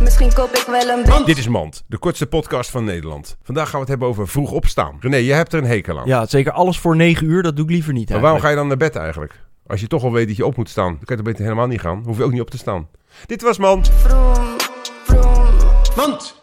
Misschien koop ik wel een beetje. Dit is Mand, de kortste podcast van Nederland. Vandaag gaan we het hebben over vroeg opstaan. René, jij hebt er een hekel aan. Ja, zeker alles voor 9 uur, dat doe ik liever niet. maar waarom ga je dan naar bed eigenlijk? Als je toch al weet dat je op moet staan, dan kan je toch beter helemaal niet gaan. Hoef je ook niet op te staan. Dit was Mand. Vroom, vroom. Mand.